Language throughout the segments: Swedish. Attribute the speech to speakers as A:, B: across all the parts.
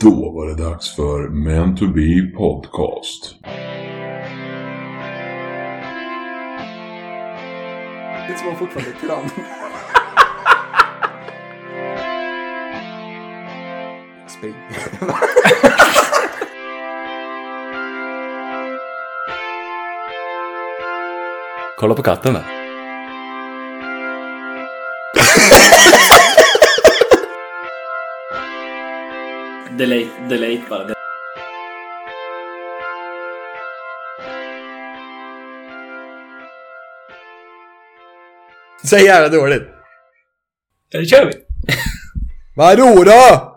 A: Då var det dags för Men to be podcast.
B: Det som var fortfarande kram. Spring.
C: Kolla på katten där. delete, delete bara.
D: Så jävla dåligt.
C: Nu kör vi!
D: Vadå då?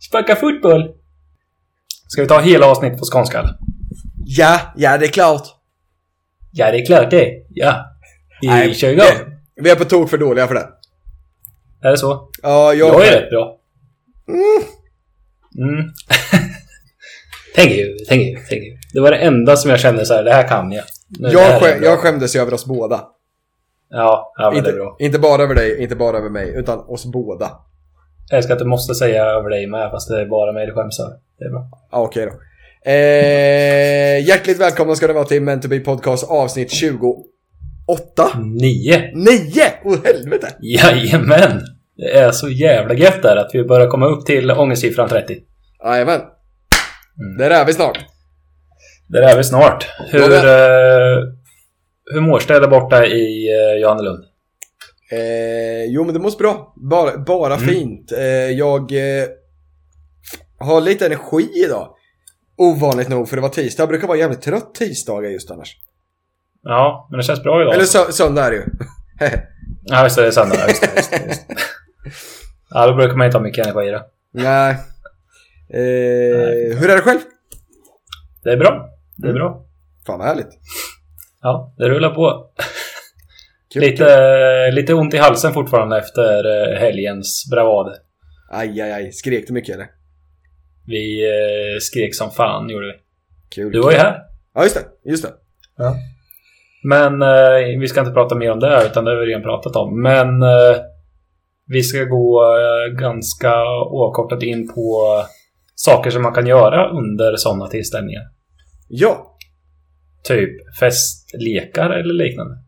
C: Spöka fotboll! Ska vi ta hela avsnittet på skånska? eller?
D: Ja, ja det är klart.
C: Ja, det är klart det. Ja. Vi kör igång.
D: vi, vi är på tok för dåliga för det.
C: Är det så?
D: Ja, jag...
C: Jag är rätt bra. Mm. thank you, thank you, thank you. Det var det enda som jag kände så här, det här kan jag. Nu, det här
D: jag,
C: är
D: skäm,
C: bra.
D: jag skämdes ju över oss båda.
C: Ja, ja men det
D: Inte,
C: är bra.
D: inte bara över dig, inte bara över mig, utan oss båda.
C: Jag älskar att du måste säga över dig med, fast det är bara mig du skäms över. Det är bra.
D: Ja, okej då. Eh, hjärtligt välkomna ska ni vara till Men to be podcast avsnitt 28.
C: Nio!
D: 9! Åh helvete!
C: Jajamän! Det är så jävla gött där att vi börjar komma upp till ångestsiffran Mm. 30.
D: Jajamän. Där är vi snart.
C: Där är vi snart. Hur,
D: Ja,
C: eh, hur mårs det där borta i eh, Johannelund?
D: Eh, jo, men det måste bra. Bara, bara
C: Mm.
D: fint. Eh, jag eh, har lite energi idag. Ovanligt nog, för det var tisdag. Jag brukar vara jävligt trött tisdagar just annars.
C: Ja, men det känns bra idag.
D: Eller sö- söndag är det ju.
C: Ja, just det. Det är söndag. Ja, Just det, just det, just det. ja, då brukar man inte ha mycket energi i det.
D: Nej. Eh, hur är det själv?
C: Det är bra. Det är bra.
D: Fan vad härligt.
C: Ja, det rullar på.
D: Kul, kul.
C: Lite, eh, lite ont i halsen fortfarande efter eh, helgens bravad.
D: Aj, aj, aj. Skrek du mycket eller?
C: Vi eh, skrek som fan, gjorde vi.
D: Kul.
C: Du var ju här.
D: Ja, just det. Just det.
C: Men eh, vi ska inte prata mer om det här, utan det har vi redan pratat om. Men eh, vi ska gå eh, ganska oavkortat in på saker som man kan göra under sådana tillställningar.
D: Ja,
C: Typ festlekar eller liknande.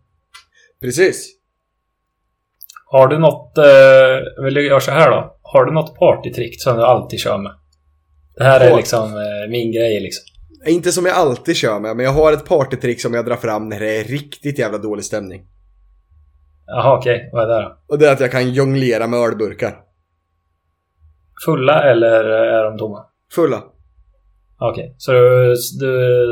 D: precis.
C: Har du något... Eh, vill jag göra så här då? Har du något partytrick som du alltid kör med? Det här är
D: Åh.
C: liksom eh, min grej liksom.
D: Inte som jag alltid kör med, men jag har ett partytrick som jag drar fram när det är riktigt jävla dålig stämning.
C: Jaha, okej. Vad är det då?
D: Och det är att jag kan jonglera med ölburkar.
C: Fulla eller eh, är de tomma?
D: Fulla.
C: Okej, så du, du,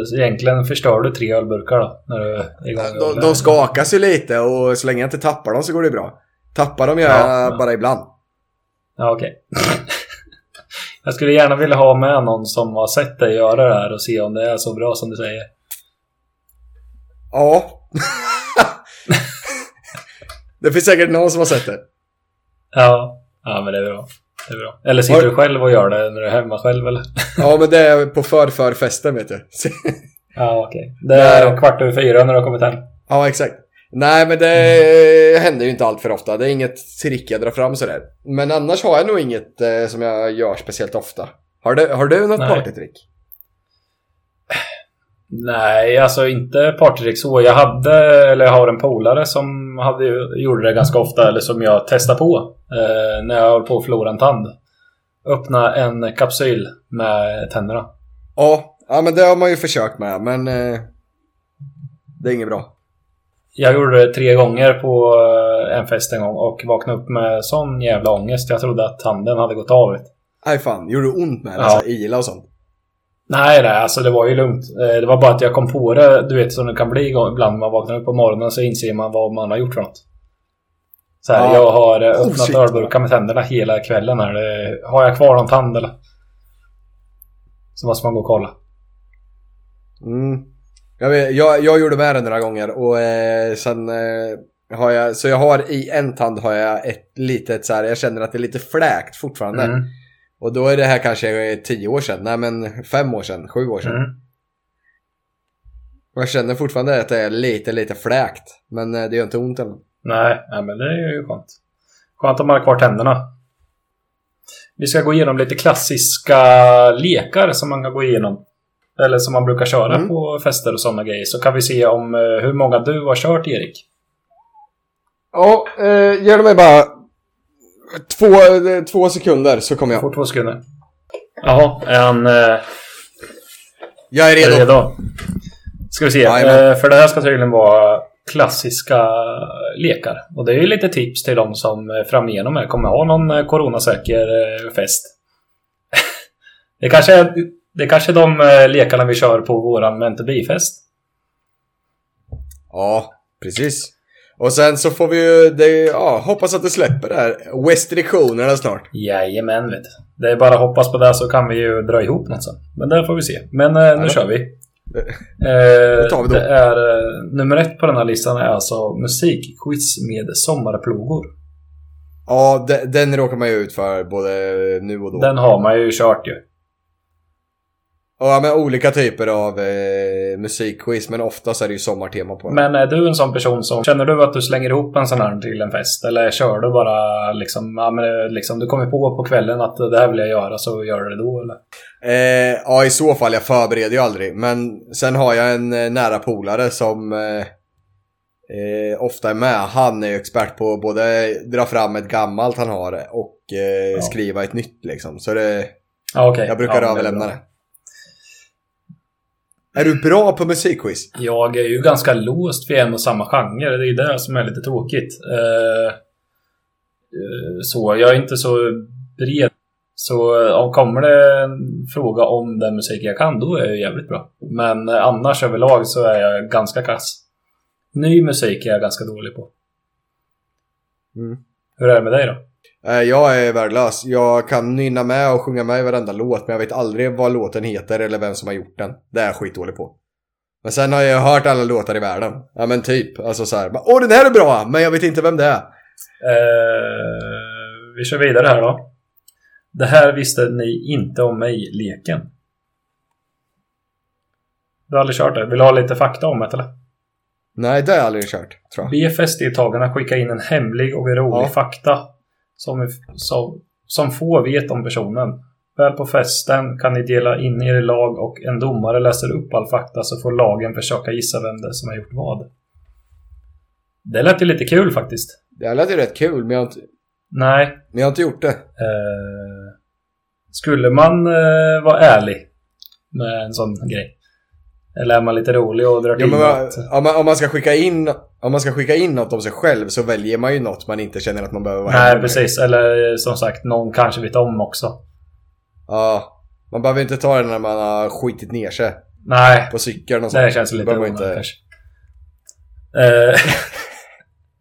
C: så egentligen förstör du tre ölburkar då? När du är igång och-
D: De, de skakas ju lite och så länge jag inte tappar dem så går det bra. Tappar dem gör
C: Ja,
D: jag
C: ja.
D: bara ibland.
C: Ja, okej. jag skulle gärna vilja ha med någon som har sett dig göra det här och se om det är så bra som du säger.
D: Ja. det finns säkert någon som har sett det.
C: Ja, ja men det är bra. Det är bra. Eller sitter
D: Har-
C: du själv och gör det när du är hemma själv eller?
D: Ja, men det är på för, för festen vet du.
C: Ja, okej. Det är
D: Nej.
C: kvart över fyra när du har kommit hem.
D: ja, exakt. Nej, men det
C: Mm.
D: händer ju inte allt för ofta. Det är inget trick jag drar fram sådär. Men annars har jag nog inget eh, som jag gör speciellt ofta. Har du, har du något
C: Nej.
D: partytrick?
C: Nej, alltså inte partytrick så. Jag hade, eller jag har en polare som hade, gjorde det ganska ofta, eller som jag testade på. Eh, när jag höll på att förlora en tand. Öppna en kapsyl med tänderna.
D: Ja. ja, men det har man ju försökt med, men eh, det är inget bra.
C: Jag gjorde det tre gånger på eh, en fest en gång och vaknade upp med sån jävla ångest. Jag trodde att tanden hade gått av.
D: Nej fan, gjorde det ont med det?
C: Ja.
D: Alltså, ila och sånt?
C: Nej, nej, alltså det var ju lugnt. Eh, Det var bara att jag kom på det, du vet som det kan bli igång- ibland när man vaknar upp på morgonen så inser man vad man har gjort för något. Så
D: Ja.
C: här, jag har eh,
D: Oh,
C: öppnat
D: shit.
C: ölburkar med tänderna hela kvällen här. Det- Har jag kvar någon tand eller? Så måste man gå och kolla.
D: Mm. Jag, vet, jag, jag gjorde med det några gånger och eh, sen eh, har jag, så jag har i en tand har jag ett litet så här, jag känner att det är lite fläkt fortfarande.
C: Mm,
D: Och då är det här kanske eh, tio år sedan, nej men fem år sedan, sju år sedan.
C: mm.
D: Och jag känner fortfarande att det är lite, lite fläkt. Men eh, det gör inte ont än.
C: Nej, nej, men det är ju skönt. Skönt om man har kvar tänderna. Vi ska gå igenom lite klassiska lekar som man kan gå igenom. Eller som man brukar köra
D: Mm.
C: på fester och sådana grejer. Så kan vi se om eh, hur många du har kört, Erik.
D: Ja, eh, ge mig bara två, eh, två sekunder så kommer
C: Jag
D: jag.
C: får två sekunder. Jaha, är han eh,
D: Jag är
C: är
D: redo.
C: redo? Ska vi se.
D: Jajamän.
C: Eh, för det här ska tydligen vara klassiska lekar. Och det är ju lite tips till de som eh, framigenom här kommer ha någon eh, coronasäker eh, fest. det, kanske är, det kanske är de eh, lekarna vi kör på våran Mentorbi-fest.
D: Ja, precis. Och sen så får vi ju, det, ja, hoppas att det släpper där. Restriktionerna snart.
C: Jajamän, vet du. Det är bara att hoppas på det så kan vi ju dra ihop något sen. Men det får vi se. Men eh, nu
D: det-
C: kör vi.
D: det-
C: Eh,
D: det tar vi då.
C: det är, eh, nummer ett på den här listan är alltså musikquiz med sommarplogor.
D: Ja, de, den råkar man ju ut för både nu och då.
C: Den har man ju kört ju.
D: Ja, men olika typer av eh, musikquiz, men oftast är det ju sommartema på den.
C: Men är du en sån person som... Känner du att du slänger ihop en sån här till en fest? Eller kör du bara liksom... Ja, men eh, liksom du kommer på på kvällen att det här vill jag göra så gör du det då eller?
D: Eh, ja, i så fall. Jag förbereder ju aldrig. Men sen har jag en eh, nära polare som eh, eh, ofta är med. Han är ju expert på att både dra fram ett gammalt han har och eh, skriva ett nytt liksom. Så det,
C: Ja, okej.
D: jag brukar
C: ja, men
D: överlämna
C: bra.
D: det. Är du bra på musikquiz?
C: Jag är ju ganska låst vid en och samma genre. Det är ju det som är lite tråkigt. Eh, eh, så jag är inte så bred. Så eh, om kommer det en fråga om den musik jag kan, då är jag jävligt bra. Men eh, annars överlag så är jag ganska kass. Ny musik är jag ganska dålig på.
D: Mm.
C: Hur är det med dig då?
D: Eh, Jag är värdelös. Jag kan nynna med och sjunga med i varenda låt, men jag vet aldrig vad låten heter eller vem som har gjort den. Det är jag skitdålig på. Men sen har jag hört alla låtar i världen. Ja men typ, alltså så här. bara, Åh den här är bra, men jag vet inte vem det är.
C: Eh, vi kör vidare här då. Det här visste ni inte om mig-leken. Du har aldrig kört det? Vill du ha lite fakta om det eller?
D: Nej, det har jag aldrig kört, tror jag.
C: Be festdeltagarna skicka in en hemlig och rolig
D: Ja.
C: fakta som, som, som få vet om personen. Väl på festen kan ni dela in er i lag och en domare läser upp all fakta så får lagen försöka gissa vem det är som har gjort vad. Det lät ju lite kul faktiskt.
D: Det lät ju rätt kul, men jag har inte,
C: Nej,
D: men jag har inte gjort det.
C: Eh, skulle man eh, vara ärlig med en sån grej? Eller är man lite rolig och drar
D: Ja,
C: till
D: men,
C: något?
D: om, man, om, man ska skicka in, om man ska skicka in något om sig själv så väljer man ju något man inte känner att man behöver vara hemma
C: Nej,
D: med.
C: precis. Eller eh, som sagt, någon kanske vet om också.
D: Ja, man behöver inte ta det när man har skitit ner sig
C: Nej,
D: på cykeln och sånt.
C: det känns lite
D: behöver man
C: onödigt kanske. Eh,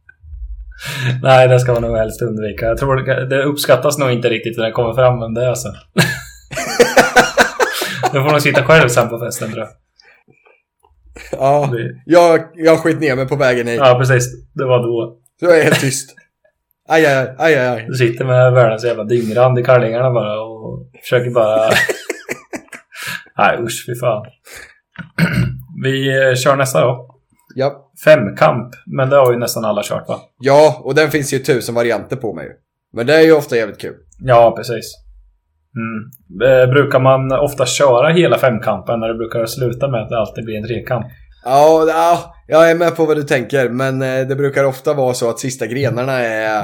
C: Nej, det ska man nog helst undvika. Jag tror det, det uppskattas nog inte riktigt när det kommer fram vem det är sen. Du får nog sitta själv sen på festen tror jag.
D: Ja,
C: Det-
D: jag, jag skit ner mig på vägen hit.
C: Ja, precis. Det var då.
D: Så jag är helt tyst. Aj, aj, aj, aj, aj.
C: Du sitter med världens jävla dyngrand i kallingarna bara och försöker bara... Nej usch, fy fan. Vi eh, kör nästa då.
D: Ja.
C: Femkamp, men det har ju nästan alla kört va?
D: ja, och den finns ju tusen varianter på mig. Men det är ju ofta jävligt kul.
C: Ja, precis. Mm. Eh, Brukar man ofta köra hela femkampen när det brukar sluta med att det alltid blir en trekamp?
D: Ja, ja, jag är med på vad du tänker, men eh, det brukar ofta vara så att sista grenarna är...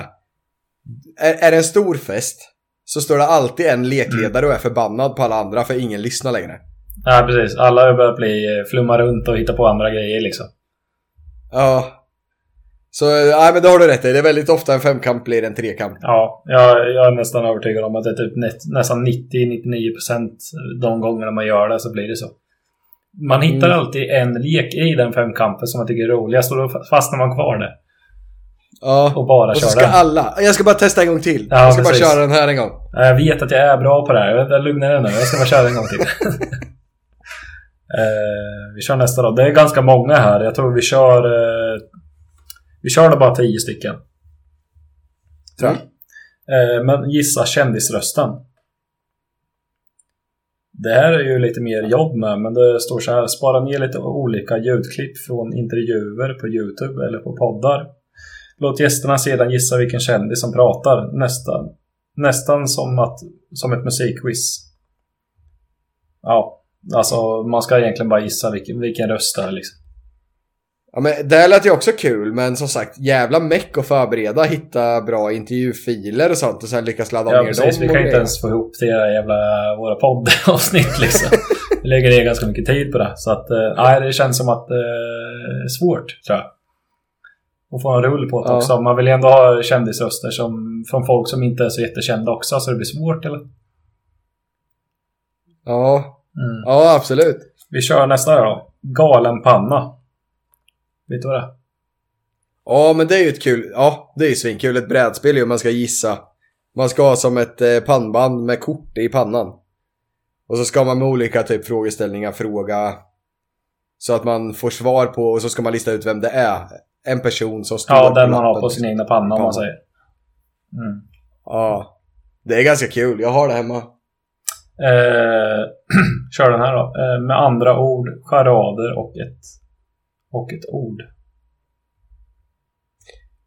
D: Är, är det en stor fest så står det alltid en lekledare och är förbannad på alla andra för ingen lyssnar längre.
C: Nej, precis. Alla har börjat bli eh, flumma runt och hitta på andra grejer liksom.
D: Ja. Så, nej men det har du rätt i. Det är väldigt ofta en femkamp blir en trekamp.
C: Ja, jag, jag är nästan övertygad om att det är typ nä- nästan 90-99% de gångerna man gör det så blir det så. Man hittar
D: Mm.
C: alltid en lek i den femkampen som man tycker är roligast och då fa- fastnar man kvar där
D: Ja.
C: och bara
D: Och så
C: kör
D: ska
C: den.
D: alla... Jag ska bara testa en gång till.
C: Ja,
D: jag ska
C: precis.
D: bara köra den här en gång.
C: Ja, Eh, Jag vet att jag är bra på det här. Vänta, Lugna dig nu. Jag ska bara köra en gång till. eh, vi kör nästa då. Det är ganska många här. Jag tror vi kör... Eh, vi kör då bara tio stycken. Tror jag. Eh, men gissa kändisrösten. Det här är ju lite mer jobb med, men det står så här. Spara ner lite olika ljudklipp från intervjuer på Youtube eller på poddar. Låt gästerna sedan gissa vilken kändis som pratar. Nästan nästan som, att, som ett musikquiz. Ja, alltså man ska egentligen bara gissa vilken, vilken röst det är liksom.
D: Ja, men det här lät ju också kul, men som sagt, jävla meck att förbereda, hitta bra intervjufiler och sånt och sen lyckas ladda
C: Ja,
D: ner
C: precis.
D: dem.
C: Vi
D: och
C: kan ju inte
D: grejer.
C: ens få ihop det här jävla våra poddavsnitt liksom. Vi lägger ner ganska mycket tid på det. Så att, eh, nej, det känns som att eh, det är svårt, tror jag. Och få en rull på det
D: Ja.
C: också. Man vill ju ändå ha kändisröster som, från folk som inte är så jättekända också, så det blir svårt, eller?
D: Ja,
C: Mm.
D: ja absolut.
C: Vi kör nästa här då. Galenpanna. Vet du vad det är?
D: Ja, men det är ju ett kul, ja, det är ju svinkul. Ett brädspel ju, man ska gissa. Man ska ha som ett eh, pannband med kort i pannan. Och så ska man med olika typ frågeställningar fråga så att man får svar på och så ska man lista ut vem det är. En person som står
C: Ja,
D: på
C: den man har
D: lappen. liksom.
C: på sin egna panna om
D: Panna.
C: man säger. Mm.
D: Ja, det är ganska kul. Jag har det hemma.
C: Eh, kör den här då. Eh, med andra ord, charader och ett, och ett ord.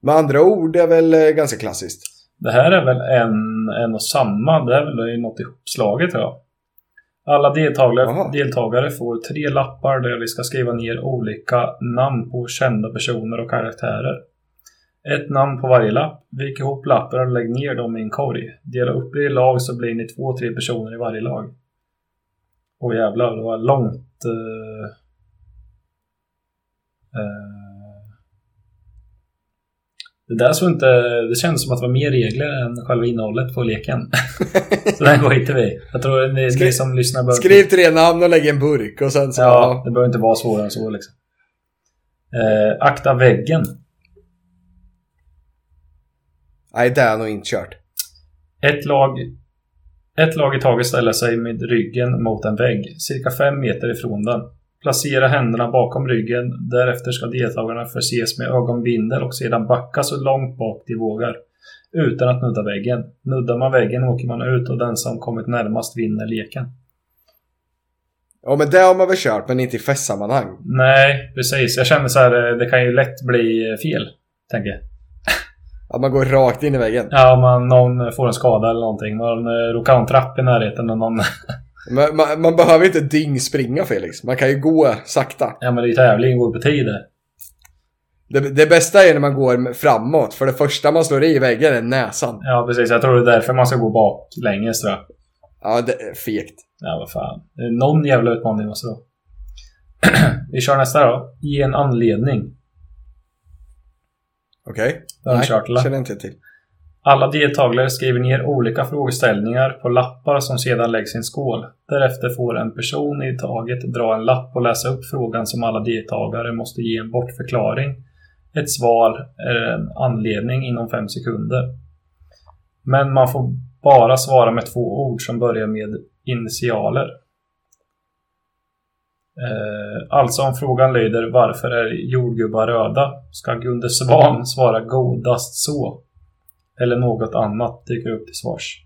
D: Med andra ord är väl eh, ganska klassiskt.
C: Det här är väl en, en och samma. Det här är väl något ihopslaget tror jag. Alla deltagare,
D: Jaha.
C: deltagare får tre lappar där vi ska skriva ner olika namn på kända personer och karaktärer. Ett namn på varje lapp. Vik ihop lappar och lägg ner dem i en korg. Dela upp er i lag så blir ni två, tre personer i varje lag. Åh jävlar, det var långt... Eh, eh, det där såg inte... Det känns som att det var mer regler än själva innehållet på leken. så den går inte vi. Jag tror ni, ni
D: Skriv-
C: som lyssnar behöver...
D: Skriv tre namn och lägg i en burk och sen så...
C: Ja, det behöver inte vara svårare än så liksom. Eh, akta väggen.
D: Nej, det är nog inte kört.
C: Ett lag, ett lag i taget ställer sig med ryggen mot en vägg, cirka 5 meter ifrån den. Placera händerna bakom ryggen, därefter ska deltagarna förses med ögonbindel och sedan backa så långt bak de vågar. Utan att nudda väggen. Nuddar man väggen åker man ut och den som kommit närmast vinner leken.
D: Ja, men det har man väl kört, men inte i festsammanhang.
C: Nej, precis. Jag känner så här, eh, det kan ju lätt bli eh, fel. Tänker jag.
D: Att man går rakt in i väggen.
C: Ja, om man, någon får en skada eller någonting. Man eh, råkar ha en trapp i närheten och någon...
D: Men, man, man behöver inte dyngspringa, Felix. Man kan ju gå sakta.
C: Ja, men det är ju tävling, går ju på tid det.
D: Det, det bästa är när man går framåt, för det första man slår i väggen är näsan.
C: Ja, precis. Jag tror det är därför man ska gå baklänges tror jag.
D: Ja, det är fegt.
C: Ja, vad fan. Eh, Någon jävla utmaning måste det vara. Vi kör nästa då. Ge en anledning.
D: Okej.
C: Det har vi kört, eller?
D: känner inte jag till.
C: Alla deltagare skriver ner olika frågeställningar på lappar som sedan läggs i en skål. Därefter får en person i taget dra en lapp och läsa upp frågan som alla deltagare måste ge en bortförklaring, ett svar eller en anledning inom fem sekunder. Men man får bara svara med två ord som börjar med initialer. Eh, Alltså om frågan lyder varför är jordgubbar röda? Ska Gunde Svan svara godast så? eller något annat dyker upp till svars.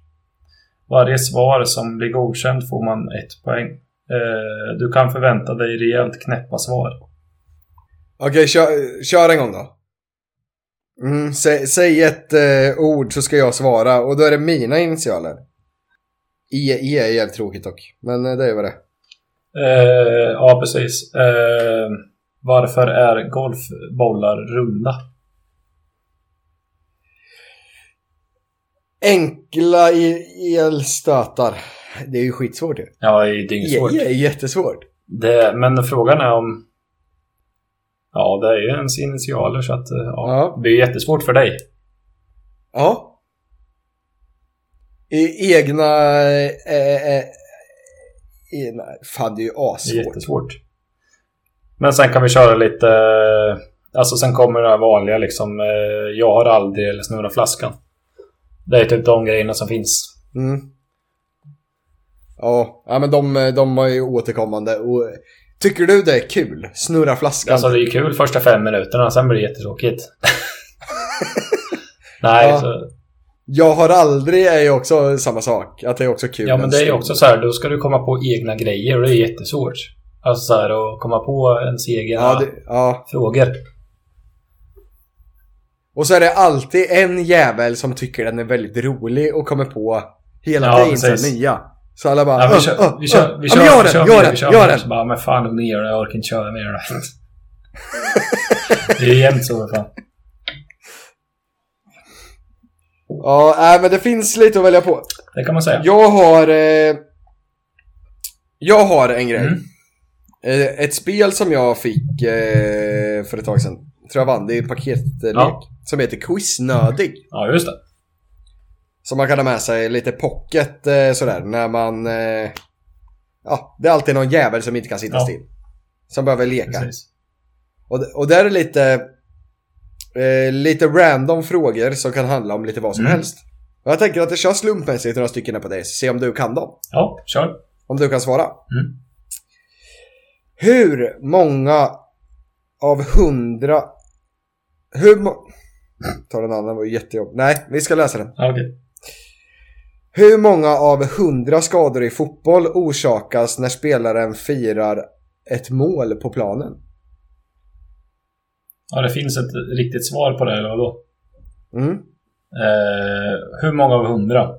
C: Varje svar som blir godkänt får man ett poäng. Eh, Du kan förvänta dig rejält knäppa svar.
D: Okej, kör, kör en gång då. Mm, sä, säg ett eh, ord så ska jag svara och då är det mina initialer. E, e är jävligt tråkigt dock, men eh, det är vad det är.
C: Eh, Ja, precis. Eh, Varför är golfbollar runda?
D: Enkla i- elstötar. Det är ju skitsvårt ju.
C: Ja, det är ju
D: E,
C: dyngsvårt.
D: e är jättesvårt.
C: Det, men frågan är om... Ja, det är ju ens initialer så att... eh, Ja,
D: Ja.
C: Det är ju jättesvårt för dig.
D: Ja. E, egna... Eh, eh, egna. Fan, det är ju
C: Det är
D: assvårt.
C: jättesvårt. Men sen kan vi köra lite... eh, Alltså sen kommer det här vanliga liksom. eh, Jag har aldrig eller snurra flaskan. Det är typ de grejerna som finns.
D: Mm. Ja, ja men de, de var ju återkommande. Och, tycker du det är kul? Snurra flaskan?
C: Alltså det är ju kul första fem minuterna, sen blir det jättetråkigt. Nej,
D: Ja,
C: så,
D: Jag har aldrig är ju också samma sak. Att det är också kul.
C: ja men
D: en
C: det är ju
D: stund.
C: också så här, då ska du komma på egna grejer och det är jättesvårt. Alltså så här att komma på ens egna
D: Ja, det, ja.
C: frågor.
D: Och så är det alltid en jävel som tycker den är väldigt rolig och kommer på hela
C: Ja,
D: tiden så
C: precis.
D: nya. Så alla bara...
C: Ja, vi
D: "Åh,
C: kör,
D: åh,
C: vi kör,
D: åh,
C: vi
D: ja,
C: kör,
D: men
C: vi kör,
D: Gör den, gör
C: mer,
D: den,
C: vi kör
D: gör
C: mer.
D: den!
C: Så bara, men fan lugn ner dig, jag orkar inte köra mer. det är jämt så för fan.
D: Ja, nej, men det finns lite att välja på.
C: Det kan man säga.
D: Jag har... Eh, jag har en grej.
C: Mm.
D: Eh, ett spel som jag fick eh, för ett tag sedan. Tror jag vann. Det är ett paketlek.
C: Ja.
D: Som heter Quiznödig.
C: Ja, just det.
D: Som man kan ha med sig lite pocket eh, sådär när man... Eh, ja, det är alltid någon jävel som inte kan sitta
C: Ja.
D: still. Som behöver leka.
C: Precis.
D: Och, och där är lite, eh, lite random frågor som kan handla om lite vad som
C: Mm.
D: helst. Och jag tänker att det kör slumpmässigt några stycken här på dig, så se om du kan dem.
C: Ja, kör.
D: Om du kan svara.
C: Mm.
D: Hur många av hundra... Hur må... Ta den andra, det var ju jättejobb. Nej, vi ska läsa den.
C: Ja, okej.
D: Hur många av hundra skador i fotboll orsakas när spelaren firar ett mål på planen?
C: Ja, det finns ett riktigt svar på det, eller vadå?
D: Mm,
C: Eh, hur många av hundra?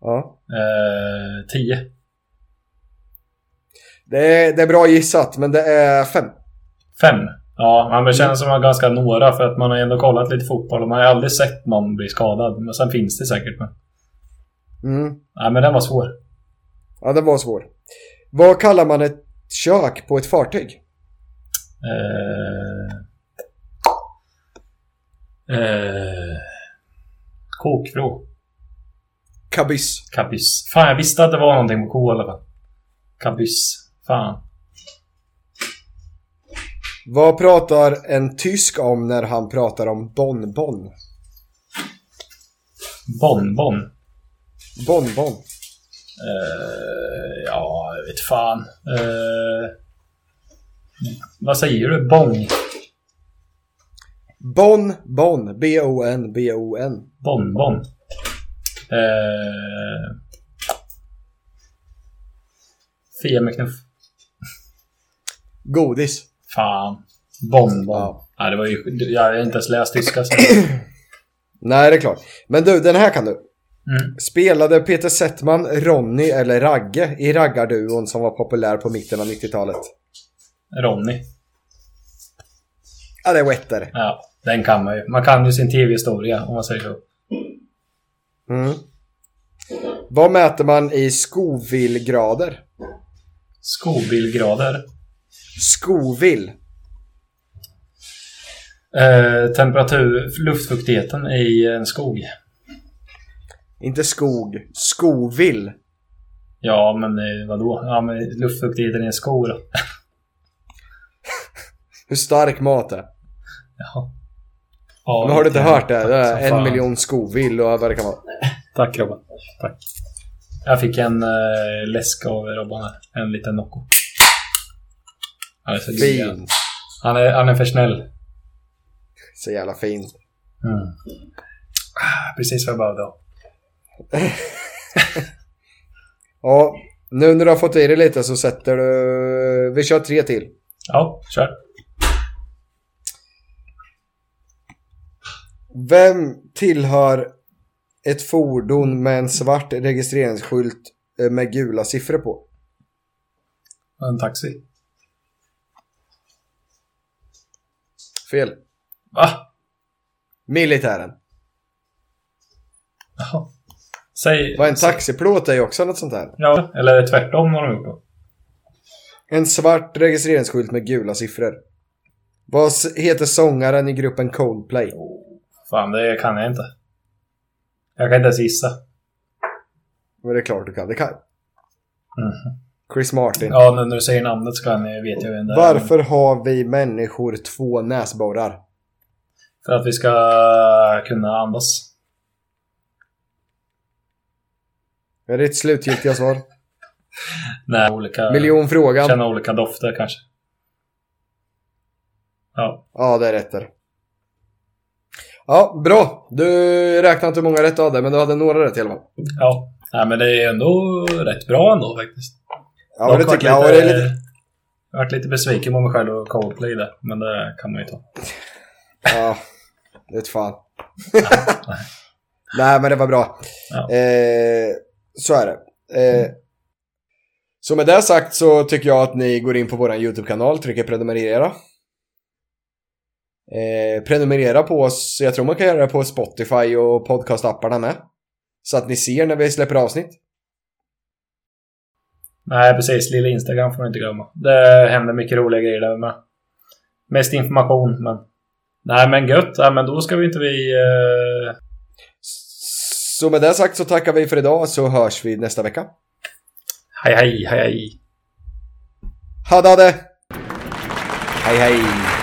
D: ja.
C: Eh, tio.
D: det, är, det är bra gissat, men det är fem.
C: Fem. Ja, man känner som att man har ganska några för att man har ändå kollat lite fotboll och man har aldrig sett någon bli skadad. Men sen finns det säkert. Men...
D: Mm.
C: Nej, men den var svår.
D: Ja, den var svår. Vad kallar man ett kök på ett fartyg?
C: Eh... Eh... Kokvrå.
D: Kabyss.
C: Kabyss. Fan, jag visste att det var någonting med K i alla fall. Kabyss. Fan.
D: Vad pratar en tysk om när han pratar om bonbon?
C: Bonbon.
D: Bonbon.
C: Eh... Ja, jag vet fan. Eh... Vad säger du? Bong?
D: Bonbon. B-O-N. B-O-N.
C: Bonbon. Eh... Fia med knuff.
D: Godis.
C: Fan. Bonbon.
D: Ja.
C: Nej, det var ju, jag har inte ens läst tyska. Så.
D: Nej, det är klart. Men du, den här kan du.
C: Mm.
D: Spelade Peter Settman, Ronny eller Ragge i raggarduon som var populär på mitten av 90-talet?
C: Ronny.
D: Ja, det är Wetter.
C: Ja, den kan man ju. Man kan ju sin tv-historia om man säger så.
D: Mm. Vad mäter man i Scoville-grader?
C: Skobilgrader.
D: Scoville.
C: Eh, temperatur, luftfuktigheten i en skog.
D: Inte skog. Scoville.
C: Ja, men eh, vadå? Ja, men luftfuktigheten i en skog då.
D: Hur stark mat är.
C: Jaha. Ja,
D: Men har du inte
C: det-
D: hört det? det är
C: Som
D: en
C: fan.
D: miljon Scoville och vad det kan vara.
C: Tack Robban. Tack. Jag fick en eh, läsk av Robban här. En liten Nocco. Han är så gullig.
D: Fin.
C: Han är, han är för snäll.
D: Så jävla fin.
C: Mm. Ah, Precis vad jag behövde ha.
D: Ja, nu när du har fått i dig lite så sätter du... Vi kör tre till.
C: Ja, kör.
D: Vem tillhör ett fordon med en svart registreringsskylt eh, med gula siffror på?
C: En taxi.
D: Fel.
C: Va?
D: Militären.
C: Jaha. Säg...
D: Vad en taxiplåt är ju också något sånt där.
C: Ja, eller tvärtom har de gjort då.
D: En svart registreringsskylt med gula siffror. Vad s- heter sångaren i gruppen Coldplay?
C: Fan, det kan jag inte. Jag kan inte ens gissa.
D: Men det är klart du kan. Det kan.
C: Mhm.
D: Chris Martin.
C: Ja, nu när du säger namnet så kan jag, vet jag vem det är.
D: Varför har vi människor två näsborrar?
C: För att vi ska kunna andas.
D: Är det ett slutgiltiga svar?
C: När olika...
D: Miljonfrågan.
C: Känna olika dofter kanske. Ja.
D: Ja, det är rätt där. Ja, bra. Du räknade inte hur många rätt du hade, men du hade några rätt i alla fall.
C: Ja. Nej, men det är ändå rätt bra ändå faktiskt.
D: Ja, men det tycker jag. Ja, det är lite...
C: Jag har varit lite besviken på mig själv och Coldplay där, men det kan man ju ta.
D: ja. det vet fan. Nej, men det var bra.
C: Ja.
D: Eh, så är det. Eh, så med det sagt så tycker jag att ni går in på vår YouTube-kanal, trycker prenumerera. Eh, prenumerera på oss, jag tror man kan göra det på Spotify och podcastapparna med. Så att ni ser när vi släpper avsnitt.
C: Nej, precis. Lilla Instagram får man inte glömma. Det händer mycket roliga grejer där med. Mest information, men... Nej, men gött. Nej, men då ska vi inte vi... eh,
D: Så med det sagt så tackar vi för idag så hörs vi nästa vecka.
C: Hej, hej, hej, hej.
D: Ha det! Hej hej!